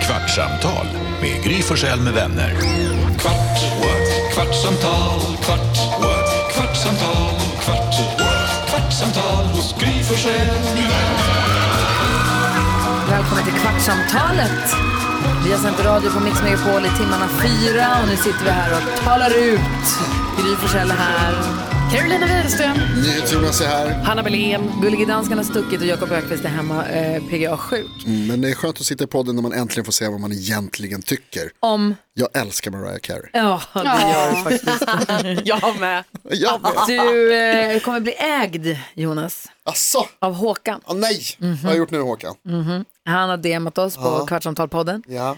Kvartsamtal med Gry Forssell med vänner. Kvart, what? kvartsamtal, kvart, what? kvartsamtal, kvart, what? kvartsamtal hos Gry Forssell med vänner. Välkommen till Kvartsamtalet. Vi har sänt radio på Mix Megapol i timmarna fyra och nu sitter vi här och talar ut. Gry Forssell är här. Carolina Widerström. NyhetsJonas är här. Hanna Belén. Gullige dansken har stuckit och Jakob Ökvist är hemma eh, PGA-sjuk. Mm, Men det är skönt att sitta i podden när man äntligen får säga vad man egentligen tycker. Om... Jag älskar Mariah Carey. Ja, det gör du faktiskt. Jag med. Jag med. Du eh, kommer bli ägd, Jonas, Asså, av Håkan. Åh, nej, vad har jag gjort nu Håkan? Mm. Han har DMat oss på Kvartsamtalpodden. Ja.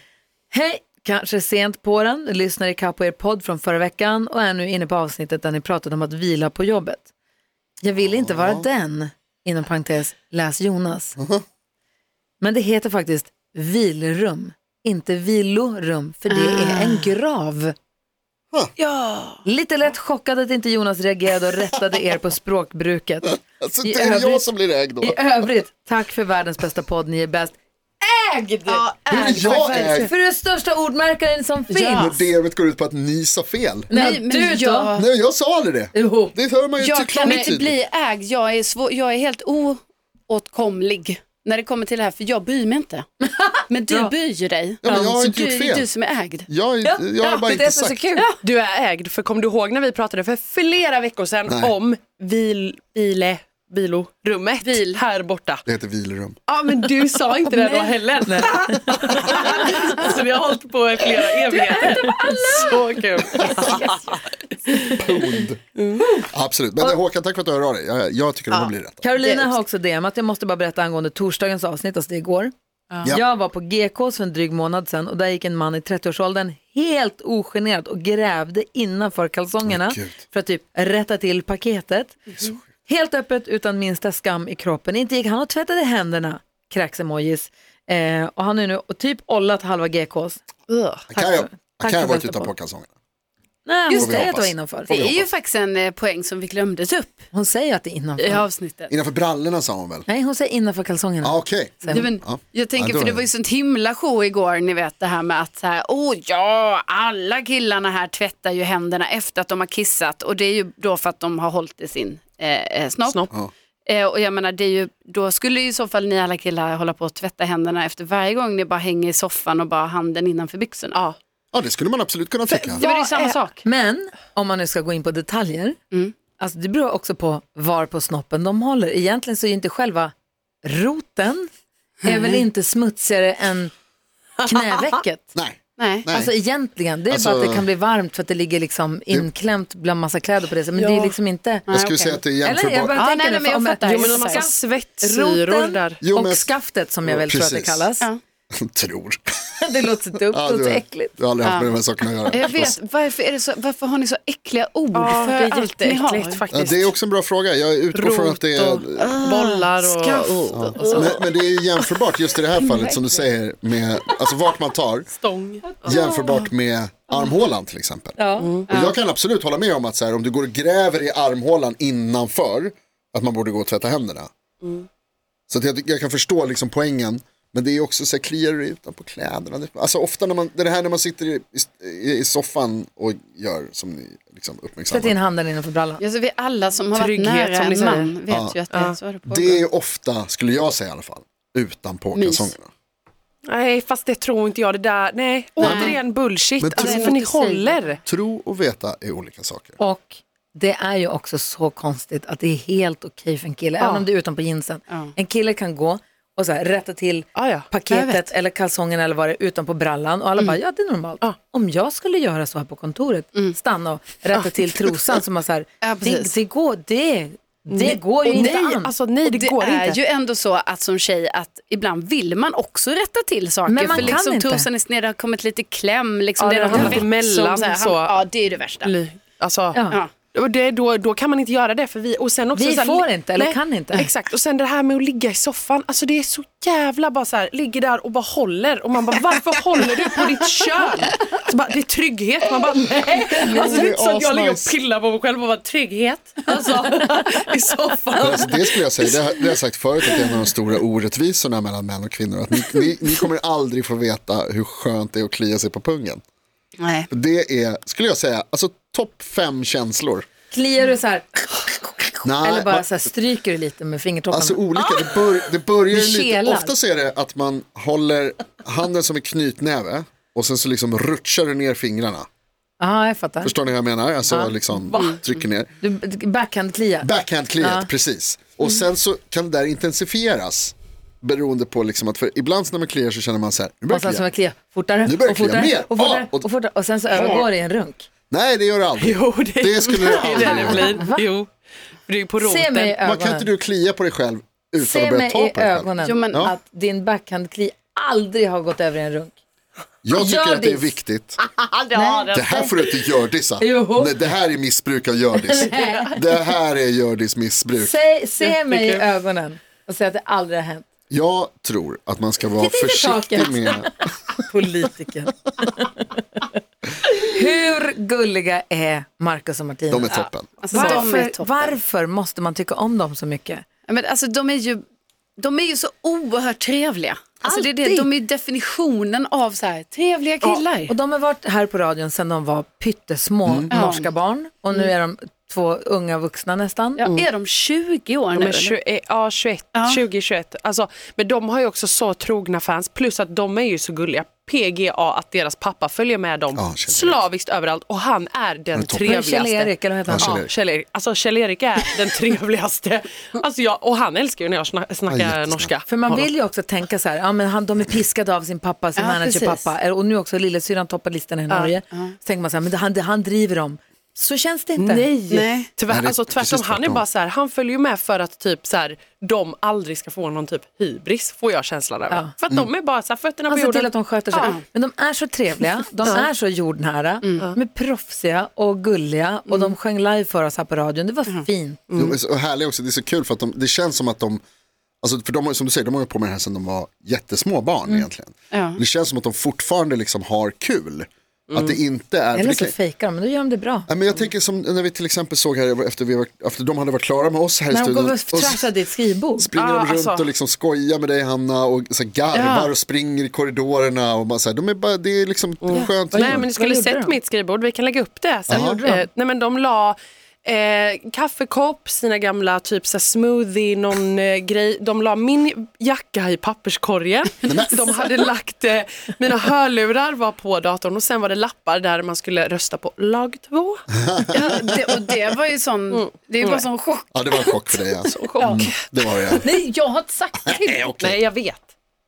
Hej! Kanske sent på den, lyssnar i kapp på er podd från förra veckan och är nu inne på avsnittet där ni pratade om att vila på jobbet. Jag vill inte vara den, inom parentes, läs Jonas. Mhm. Men det heter faktiskt vilrum, inte vilorum, för det är Ah. en grav. Lite lätt chockad att inte Jonas reagerade och rättade er på språkbruket. Alltså, I det är jag övrigt- som blir ägd då. I övrigt, tack för världens bästa podd, ni är bäst. Ägd! Ja, Är ägd. jag ägd? För du är största ordmärkaren som finns. Ja. Men DMet går ut på att ni sa fel. Nej, men du då? jag, Nej, jag sa aldrig det. Jo. Det hör man ju jag tycklart kan och inte tydligt. bli ägd. Jag är, svår, jag är helt oåtkomlig när det kommer till det här, för jag bryr mig inte. Men du Bra. bryr ju dig. Ja, men jag har Så inte du gjort är fel. du som är ägd. Jag, är- jag har bara det är inte det som är så sagt. kul. Du är ägd, för kom du ihåg när vi pratade för flera veckor sedan Nej. om vil, vile, vilorummet här borta? Det heter vilrum. Ja, men du sa inte det då heller. så Alltså, vi har hållit på i flera evigheter. Så kul. Pund. Absolut, men Håkan tack för att du hör av dig. Jag, jag tycker att man blir rätt. Carolina Det- har också DMat, jag måste bara berätta angående torsdagens avsnitt, alltså det igår. Ja. Jag var på GKs för en dryg månad sedan och där gick en man i 30-årsåldern helt ogenerat och grävde innanför kalsongerna Åh, Gud. för att typ rätta till paketet. Helt öppet utan minsta skam i kroppen. Inte gick han och tvättade händerna, kräksemojis. Eh, och han är nu och typ ollat halva GKs. Han kan ju- för- han tack kan ju för ha varit bästa utan podd. på kalsongerna. Nej, hon Just det. säger att det var Hoppas. innanför. Får vi Det är ju hoppas. faktiskt en eh, poäng som vi glömde ta upp Hon säger att det är innanför. i avsnittet. Innanför brallorna sa hon väl? Nej, hon säger innanför kalsongerna. Ah, Okej. Nej, men, Ja. Jag Ja, tänker, då för det är var det. ju sånt himla show igår, ni vet det här med att så här, oh ja, alla killarna här tvättar ju händerna efter att de har kissat och det är ju då för att de har hållit i sin eh, eh, snopp. Snopp. Ja. Eh, och jag menar, det är ju, då skulle ju i så fall ni alla killar hålla på att tvätta händerna efter varje gång ni bara hänger i soffan och bara har handen innanför byxorna. Ja. Ja, det skulle man absolut kunna tycka. Det var ju samma sak. Men om man nu ska gå in på detaljer, Mm. alltså det beror också på var på snoppen de håller. Egentligen så är ju inte själva roten är väl inte smutsigare än knävecket. Nej. Nej. Nej. Alltså egentligen, det är Alltså- bara att det kan bli varmt för att det ligger liksom inklämt bland massa kläder på det sättet. Men det är liksom inte... jag skulle okej. säga att det är Eller jag bara jämförbart. Ja, tänker nu, nej, nej, men för jag om fattar. Jo, Men en men massa ska- svettsyror Roten där. Jo, men- och skaftet som jag väl tror att det Precis. kallas. Ja. Tror. Det låter så dumt Ja, och du, så har- äckligt. du har aldrig haft med de här sakerna att göra. Jag vet, varför, är det så, varför har ni så äckliga ord Ja, för det är allt ni har? jätteäckligt Ja, faktiskt. det är också en bra fråga. Jag utgår från att det är... bollar och... Ja. Men, men det är jämförbart just i det här fallet som du säger med, alltså vart man tar, Stång. jämförbart med armhålan till exempel. Och jag kan absolut hålla med om att så här, om du går och gräver i armhålan innanför, att man borde gå och tvätta händerna. Så att jag, jag kan förstå liksom poängen, men det är också så här, kliar du utanpå kläderna? Det- Alltså ofta när man, det är det här när man sitter i, i, i soffan och gör som ni liksom Sätt in uppmärksammar. handen innanför brallan. Alltså, vi alla som har varit Trygghet, nära som ni en säger. man vet ju att det är så det pågår. Det är ofta, skulle jag säga i alla fall, utanpå Mys. kalsongerna. Nej, fast det tror inte jag. Det där, nej. Återigen bullshit. Men alltså, tror- för ni håller. Tro och veta är olika saker. Och det är ju också så konstigt att det är helt okej för en kille, även om det är utanpå jeansen. Ja. En kille kan gå och så här, rätta till Ja, Mm. ja. Jag vet. paketet eller kalsongen eller vad det är utanpå brallan och alla bara, ja det är normalt. Om jag skulle göra så här på kontoret, Mm. stanna och rätta till trosan som man så här, Ja, det, precis. det går, det, det går ju Och inte nej, an. alltså nej, det, det går är inte. ju ändå så att som tjej att ibland vill man också rätta till saker. Men man för kan liksom inte. trosan är sned, det har kommit lite kläm, liksom, Ja, det det har har kommit kommit emellan som här, så. Ja, det är det värsta. Ly- Alltså, Ja. Ja. Och det, då, då kan man inte göra det. För vi, och sen också Vi så här, får inte, eller kan inte. Exakt, och sen det här med att ligga i soffan. Alltså det är så jävla bara så här, ligger där och bara håller. Och man bara, varför håller du på ditt kön? Så bara, det är trygghet. Man bara, nej. Alltså, det är inte så att jag ligger och pillar på mig själv och bara, trygghet. Alltså, i soffan. Alltså, det skulle jag säga, det har, det har jag sagt förut, att det är en av de stora orättvisorna mellan män och kvinnor. Att ni, ni, ni kommer aldrig få veta hur skönt det är att klia sig på pungen. Nej. Det är, skulle jag säga, alltså topp fem känslor. Kliar du så här? Nej, eller bara man- så här, stryker du lite med fingertopparna? Alltså olika, det, bör, det börjar Blir ju lite, kelad. ofta så är det att man håller handen som en knytnäve och sen så liksom rutschar du ner fingrarna. Ja, jag fattar. Förstår ni vad jag menar? Alltså liksom trycker ner. Du backhandkliar. Backhandkliet, precis. Och sen så kan det där intensifieras. Beroende på liksom att, för ibland när man kliar så känner man så här, nu börjar Och sen jag så klia. man kliar fortare Nu börjar och fortare, jag klia mer. och fortare, Ah, och- och fortare och sen så övergår det i en runk. Nej det gör det aldrig. Jo, det, Det skulle du är det aldrig det göra. blir. Jo, för det är ju på roten. Se mig i Man kan inte ögonen. du klia på dig själv utan Se att mig börja ta i på dig själv. ögonen Jo, men Ja. att din backhandkli aldrig har gått över i en runk. Jag tycker Gör att det är diss. viktigt. aldrig har Det det. här får du inte gördissa. Jo. Nej, det här är missbruk av gördis. Det här är gördis missbruk. Se, se mig i ögonen och säg att det aldrig har hänt. Jag tror att man ska vara Titta in i försiktig taket. med... Politiker. Hur gulliga är Marcus och Martina? De är toppen. Alltså, de är Varför, toppen. varför måste man tycka om dem så mycket? Ja, Men alltså, de, är ju, de är ju så oerhört trevliga. Alltså, det är det, Alltid. de är ju definitionen av så här, trevliga killar. Och de har varit här på radion sedan de var pyttesmå Mm. norska barn och Mm. nu är de två unga vuxna nästan. ja, Är de 20 år nu? De är 20, ja, 21, 20, 21. Alltså, men de har ju också så trogna fans, plus att de är ju så gulliga. PGA, att deras pappa följer med dem Ja, Kjell-Erik. slaviskt överallt och han är den toppen. trevligaste. Kjell-Erik, eller vad heter han? Ja, Ja, Kjell-Erik. Kjell-Erik. Alltså Kjell-Erik är den trevligaste. Alltså jag, och han älskar ju när jag sna- Ja, snackar jättesnäll. norska. För man vill ju också tänka så här, ja, men han, de är piskade av sin pappa, sin Ja, managerpappa precis. och nu också lillasyrran toppar listan i Norge. Så tänker man så här, men det- han, det- han driver dem. Så känns det inte. Nej, Nej. Tyvärr, Nej, det är alltså, tvärtom. precis Han är tvärtom. bara så här, han följer ju med för att typ så här, de aldrig ska få någon typ hybris, får jag känslan över. Ja. För att Mm. de är bara så här, fötterna på Han ser jorden. till att de sköter sig. Mm. Ja. Men de är så trevliga, de är så jordnära, Mm. de är proffsiga och gulliga och de sjöng live för oss här på radion. Det var Mm. fint. De är så härliga också, det är så kul för att de, det känns som att de, alltså för de har, som du säger, de har ju på med det här sedan de var jättesmå barn egentligen. Ja. Det känns som att de fortfarande liksom har kul. Att det inte är... för Eller det så kan- fejkar de, men då gör de det bra. Ja, men jag tänker som när vi till exempel såg här efter, vi var, efter de hade varit klara med oss här i När de studion. går och Alltså, och så trashar ditt skrivbord. springer de Ah, runt alltså. och liksom skojar med dig Hanna och så här garvar och springer i korridorerna. Och bara så här, de är bara, det är liksom skönt. Nej men du skulle Vad gjorde sett de? mitt skrivbord, vi kan lägga upp det sen. Vad gjorde de? Eh, nej men de la eh, kaffekopp, sina gamla typ så här smoothie, någon eh, grej. De la min jacka i papperskorgen. de hade lagt, eh, mina hörlurar var på datorn och sen var det lappar där man skulle rösta på lag två. Ja, det, och det var ju sån, det är ju bara sån chock. Ja, det var en chock för dig alltså. Chock. Det var det. Nej, jag har inte sagt det. Nej, okej. Nej jag vet.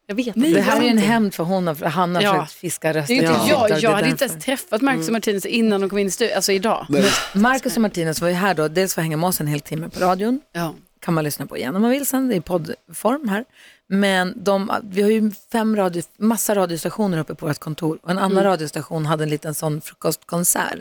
Jag vet. Det här är ju en hämnd för hon, har- Hanna har Ja. försökt fiska Det är rösten. ju inte Ja. jag, jag hade därför. inte ens träffat Marcus och Martinus innan de kom in i studion, alltså idag. Nej. Marcus och Martinus var ju här då, dels för att hänga med oss en hel timme på radion, Ja. kan man lyssna på igen om man vill sen, det är i poddform här. Men de, vi har ju fem radio, massa radiostationer uppe på vårt kontor och en Mm. annan radiostation hade en liten sån frukostkonsert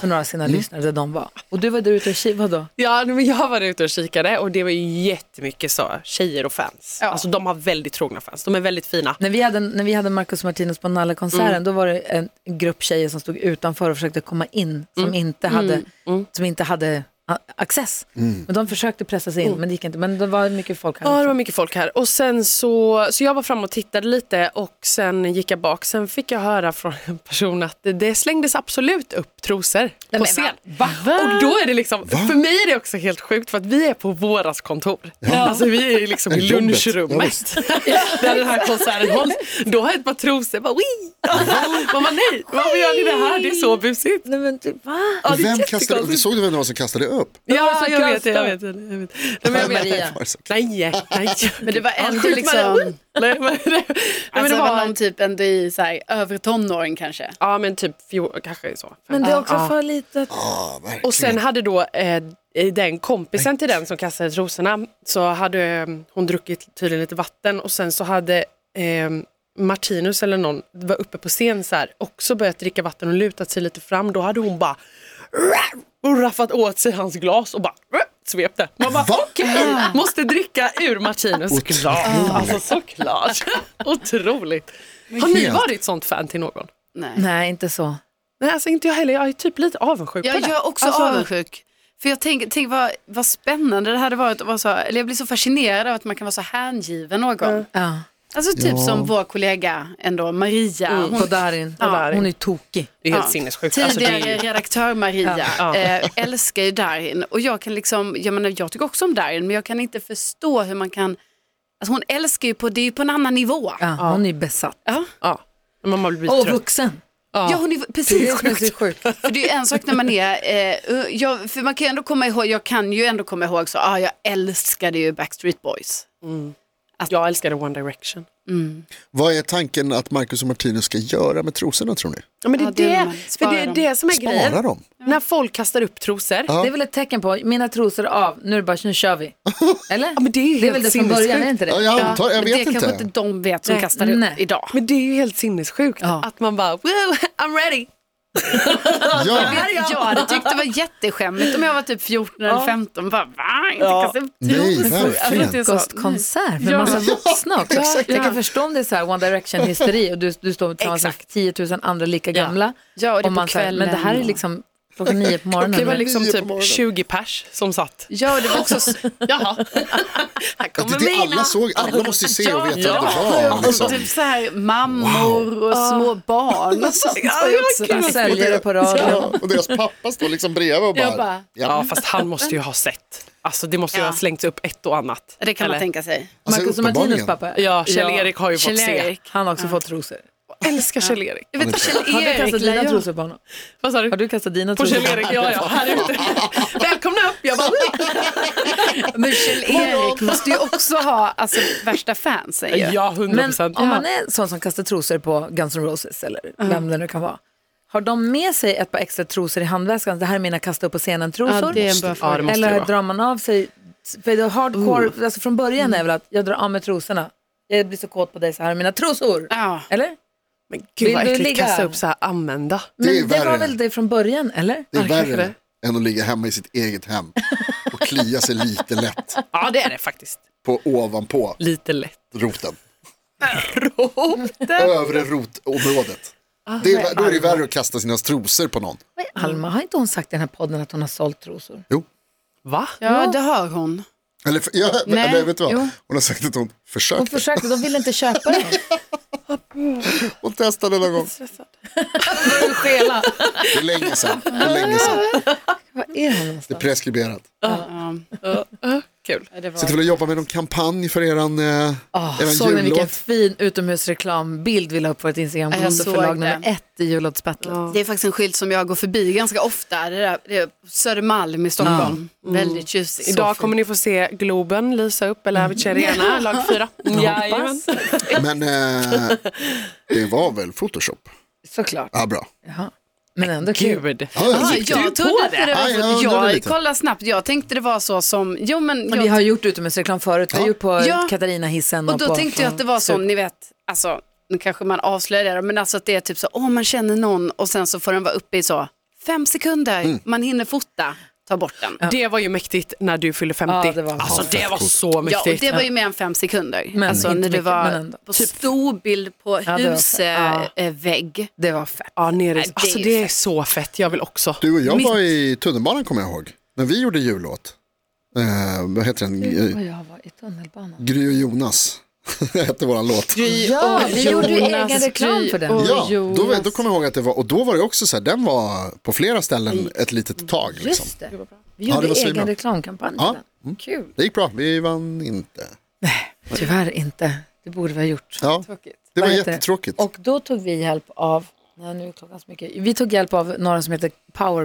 för några av sina Mm. lyssnare där de var. Och du var där ute och kivade då? Ja, men jag var ute och kikade och det var ju jättemycket så, tjejer och fans. Alltså de har väldigt trogna fans, de är väldigt fina. När vi hade, när vi hade Marcus och Martinus på Nalla-konserten, Mm. då var det en grupp tjejer som stod utanför och försökte komma in, som Mm. inte hade, Som inte hade a- access. Men de försökte pressa sig in, men det gick inte. Men det var mycket folk här. Mm. Ja, det också. var mycket folk här. Och sen så, så jag var fram och tittade lite och sen gick jag bak. Sen fick jag höra från en person att det- det slängdes absolut upp trosor på scen. Och då är det liksom, för mig är det också helt sjukt för att vi är på våras kontor. Alltså vi är ju liksom i Jobbet. Ja, lunchrummet där den här konserten hålls. Då har jag ett par trosor bara, Wii! Man bara nej, varför gör ni det här? Det är så busigt. Nej, men du, va? Ja, det är Vem kastade upp? jättekonstigt. Såg du vem det var som kastade upp? Ja, som jag vet, det, kastade? jag vet, det, jag vet. det. Nej, men jag vet. Maria. Var det så? Nej, nej. Men det var Ja, ändå skjut med liksom- den. Nej, men det, nej, men Alltså, det var... någon typ ändå i så här, övre tonåren kanske. Ja, men typ fjol, kanske så. Men det är också för litet. Ja, Ah, verkligen. Och sen hade då eh, den kompisen till den som kastade trosorna, så hade eh, hon druckit tydligen lite vatten och sen så hade eh, Martinus eller någon var uppe på scen så här, också börjat dricka vatten och lutat sig lite fram. Då hade hon bara och raffat åt sig hans glas och bara "Äh", svepte. Man bara Va? okej, måste dricka ur Martinos Otroligt. Mm. glas. Alltså såklart. Otroligt. Har ni helt- varit sånt fan till någon? Nej. Nej, inte så. Nej alltså inte jag heller, jag är typ lite avundsjuk på Jag, det. jag är också Alltså, avundsjuk. För jag tänker, tänk vad, vad spännande det hade varit att vara så, eller jag blir så fascinerad av att man kan vara så hängiven någon. Ja. Alltså typ som vår kollega ändå, Maria. Hon, På Darin. Darin. Mm. Hon är tokig. Det är helt Ja. sinnessjukt. Alltså, det Tidigare är ju... redaktör Maria Ja, ja. Eh, älskar ju Darin och jag kan liksom, jag menar jag tycker också om Darin men jag kan inte förstå hur man kan, alltså hon älskar ju på, det är ju på en annan nivå. Ja, Hon är besatt. Ja. ja. Men man blir Och trött. vuxen. Ja, hon är Det precis. är sjukt. sjukt. För det är ju en sak när man är, eh, jag, för man kan ju ändå komma ihåg, jag kan ju ändå komma ihåg så, ah, jag älskade ju Backstreet Boys. Jag älskade One Direction. Vad är tanken att Marcus och Martinus ska göra med trosorna tror ni? Ja, men det är Ja, det vill det, man. för det är Spara det som är Spara grejen. dem. När folk kastar upp trosor. Ja. Det är väl ett tecken på, mina trosor är av, nu är det bara, nu kör vi. Eller? men det är ju det är väl helt det från början, är sinnessjukt. det inte det? Ja, jag antar, jag Men det vet kanske inte. inte de vet som Nej. kastar det Nej. idag. Men det är ju helt sinnessjukt Ja. att man bara, wow, I'm ready. Ja. Ja, jag hade tyckt det var jätteskämmigt om jag var typ 14 eller 15. Bara, va? Inte kasta upp Nej, trosor. Alltså, verkligen. det är så- frukostkonsert med Ja. massa Ja, vuxna också. exakt. Jag kan förstå om det är så här One Direction-hysteri och du, du står tillsammans med 10 000 andra lika gamla. Ja, och det är på man så här, men det här är kvällen. liksom klockan nio på Det morgonen. var Men- liksom Nio på typ morgonen. 20 pers som satt. Ja, det var också... s- Jaha. Här Det, kommer det mina. alla såg, alla måste ju se och veta vad det var. Alltså, Liksom. typ så här mammor och små barn och sånt. Ja, det var var ju kul. också- Säljare på radion. Ja, och deras pappa står liksom bredvid och Jag bara... bara- Ja Ja. fast han måste ju ha sett. Alltså det måste ju Ja. ha slängts upp ett och annat. Det kan Eller? man tänka sig. Alltså, Marcus och Martinus uppenbarligen. pappa. Ja, Kjell-Erik har ju fått se. Kjell-Erik. Han har också fått trosor. Jag älskar Kjell-Erik. Jag vet att Har du Kjell-Erik kastat dina lär ju- trosor på honom? Vad sa du? Har du kastat dina På trosor? Kjell-Erik, ja ja, här ute. Välkomna upp! Jag bara, Men Kjell-Erik måste ju också ha alltså, värsta fansen ju. ja, hundra Men procent. om man är sån som kastar trosor på Guns N' Roses eller vem det nu kan vara. Har de med sig ett par extra trosor i handväskan? Det här är mina kasta upp på scenen-trosor. Ja, det är en bra Ja, det fråga. måste det Eller vara. Oh. drar man av sig, för det är hardcore, alltså från början Mm. är väl att jag drar av mig trosorna, jag blir så kåt på dig så här, mina trosor. Ja. Eller? Men Vill gud vad du äckligt, ligga? kasta upp så här använda. Men är det, var värre. väl det från början, eller? Det är kanske värre än att ligga hemma i sitt eget hem och klia sig lite lätt Ja det är det faktiskt. på ovanpå Lite lätt. roten. Övre rotområdet. Det är, då är det värre att kasta sina trosor på någon. Alma, har inte hon sagt i den här podden att hon har sålt trosor? Jo. Va? Ja, det har hon. Eller, för- ja, Nej, eller vet du vad? jo. Hon har sagt att hon Hon försökte. försökte, de ville inte köpa det. Hon testade någon gång. Skela. Det är länge sedan. Det är länge sedan. Vad är hon Det är någonstans? preskriberat. Ja, Kul. det var... Sitter väl och jobbar med någon kampanj för eran, eh, Oh, eran såg ni vilken jullåt. fin utomhusreklambild vi la upp på ett Ja, jag Instagramkonto såg för lag det. nummer ett i jullåtsbattlet? Det är faktiskt en skylt som jag går förbi ganska ofta. Det där, det är Södermalm i Stockholm. Väldigt tjusigt. Idag kommer ni få se Globen lysa upp, eller Avicii Arena, lag 4. Mm. Jajamän. Men eh, det var väl Photoshop? Såklart. Ja, bra. Jaha. Men ändå kul. Gud. Ja, jag Ja, tyckte- Ah, jag trodde inte det Ja, jag var... undrade Jag lite. kollade snabbt. Jag tänkte det var så som... Jo, men Men jag vi har gjort utomhusreklam förut, vi har Ja. gjort på Ja. Katarina Hissen Och då på, tänkte jag att det var Typ. sån, ni vet, alltså, nu kanske man avslöjar det, men alltså att det är typ så, åh man känner någon och sen så får den vara uppe i så fem sekunder, man hinner fota, ta bort den. Ja, Det var ju mäktigt när du fyllde 50. Ja, det var alltså mäktigt. det var så och mäktigt. det var ju mer än fem sekunder. Men alltså inte när du mycket, men var ändå. på stor bild på eh, var fett. Ja. husvägg. Det var fett. Ja, nere. Nej, det alltså är ju det är fett. så fett, jag vill också. Du och jag var i tunnelbanan kommer jag ihåg. När vi gjorde jullåt. Eh, vad heter den? Eh, Och jag var i tunnelbanan. Gry och Jonas hette våran låt. Ja, vi gjorde ju egen reklam för den. Ja, då, vet- då kommer jag ihåg att det var, och då var det också så här, den var på flera ställen ett litet tag. Liksom. Just det. Vi Ja, det gjorde var svinbra. egen reklamkampanj Ja. Mm. för den. Kul. Det gick bra, vi vann inte. Tyvärr inte. Det borde vi ha gjort. Ja, det var Vad heter det? jättetråkigt. Och då tog vi hjälp av, nej nu är klockan så mycket, vi tog hjälp av några som heter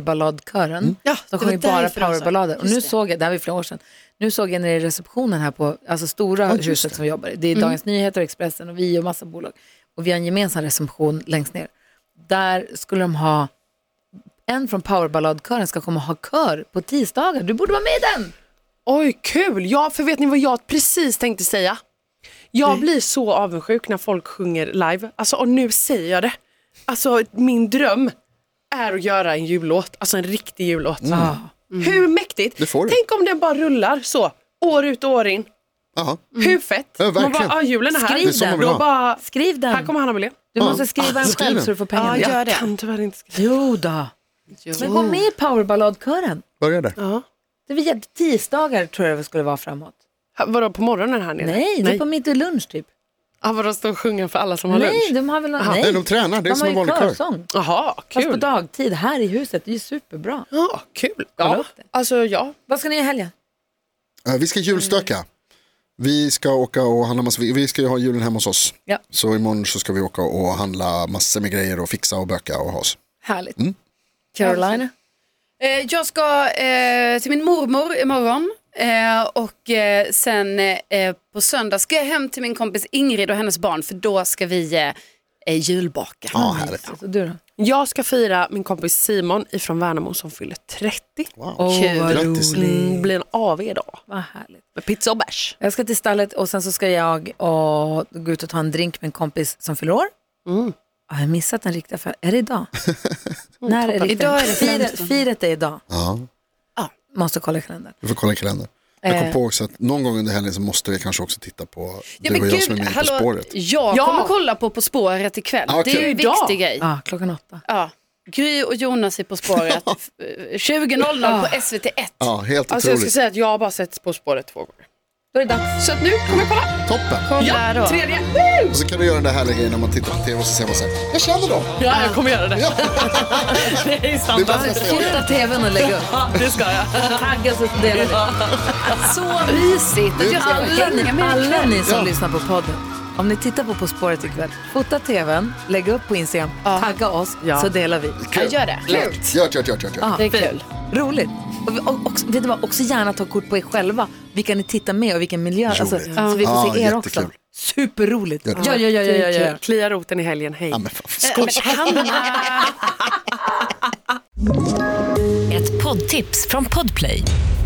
Powerballadkören. Ja, de det sjöng var ju bara därför de sa. powerballader. Och nu såg jag, det här var ju flera år sedan, nu såg jag nere i receptionen här på, alltså stora huset som vi jobbar i, det är Dagens Nyheter och Expressen och vi och massa bolag. Och vi har en gemensam reception längst ner. Där skulle de ha, en från Powerballadkören ska komma och ha kör på tisdagar. Du borde vara med i den! Oj, kul! Ja, för vet ni vad jag precis tänkte säga? Jag blir så avundsjuk när folk sjunger live. Alltså, och nu säger jag det. Alltså, min dröm är att göra en jullåt, alltså en riktig jullåt. Mm. Hur mäktigt? Det får du. Tänk om den bara rullar så, år ut och år in. Jaha. Hur fett? Ja, man verkligen. bara, ja julen är här. Mm. Skriv Det är så den. man vill Då ha. bara, Skriv här den. kommer Hanna Wilén. Du måste skriva Ah, den skriv själv den. så du får pengarna. gör det. Kan tyvärr inte skriva. Jo då. Men gå med i powerballadkören. Börja där. Ja. Det var jätte- tisdagar tror jag det skulle vara framåt. Ha- Vadå på morgonen här nere? Nej, det är på mitt i lunch typ. ah, vadå stå och sjunga för alla som har Nej, lunch? de har väl någon, nej. Nej, de tränar. Det är de som har en ju vanlig kör. körsång. Jaha, Fast på kul. dagtid här i huset, det är ju superbra. Ja, kul. Kolla Ja. upp det. Alltså ja, Vad ska ni göra i helgen? Eh, Vi ska julstöka. Vi ska åka och handla massa, vi vi ska ju ha julen hemma hos oss. Ja. Så imorgon så ska vi åka och handla massor med grejer och fixa och böka och ha oss. Härligt. Carolina? Eh, jag ska eh, till min mormor imorgon eh, och eh, sen eh, på söndag ska jag hem till min kompis Ingrid och hennes barn för då ska vi eh, eh, julbaka. Ja, härligt. Så du då? jag ska fira min kompis Simon ifrån Värnamo som fyller 30. Åh, Kul. vad Grattis. roligt. Det blir en AV idag. Vad härligt. Med pizza och bärs. Jag ska till stallet och sen så ska jag och gå ut och ta en drink med en kompis som fyller år. Jag har missat den riktiga för Är det idag? När är det? Idag är det Firet, 15. firet är idag. Ja, Måste kolla i kalendern. vi får kolla i kalendern. Jag Eh. kom på också att någon gång under helgen så måste vi kanske också titta på du och jag som är med På spåret. jag Ja. kommer kolla på På spåret ikväll. Ja, Det är kul. ju en Idag. viktig grej. Ja, klockan åtta. Ja. Gry och Jonas är På spåret F- eh, 20.00 på SVT1. Ja, helt Alltså jag ska otroligt. säga att jag har bara sett På spåret två gånger. Då är det dags. Så att nu kommer jag kolla. Toppen! Kolla då. Tredje. Och så kan du göra den där härliga grejen när man tittar på tv och så ser man så här, jag känner dem. Ja, jag kommer göra det. Ja. Det är Det är standard. bara nästa gång. Fota tvn och lägg upp. Ja, det ska jag. Tagga så delar vi. Så mysigt. Och jag ska Alla ni, hänga med alla ikväll. ni som Ja. lyssnar på podden, om ni tittar på På spåret ikväll, fota tvn, lägg upp på Instagram, tagga oss Ja. så delar vi. Ja, gör det. Gört, gört, gört, gört. gört. Det är kul. Roligt. Och, vi- och, också, vet du vad, också gärna ta kort på er själva, vilka ni tittar med och vilken miljö. Alltså, Roligt. Så vi får Ja, se er jättekul. också. Superroligt. Ja, Jättekul. ja, ja, ja, ja, ja. Klia roten i helgen, hej. Ja, men fan, Ett poddtips från Podplay.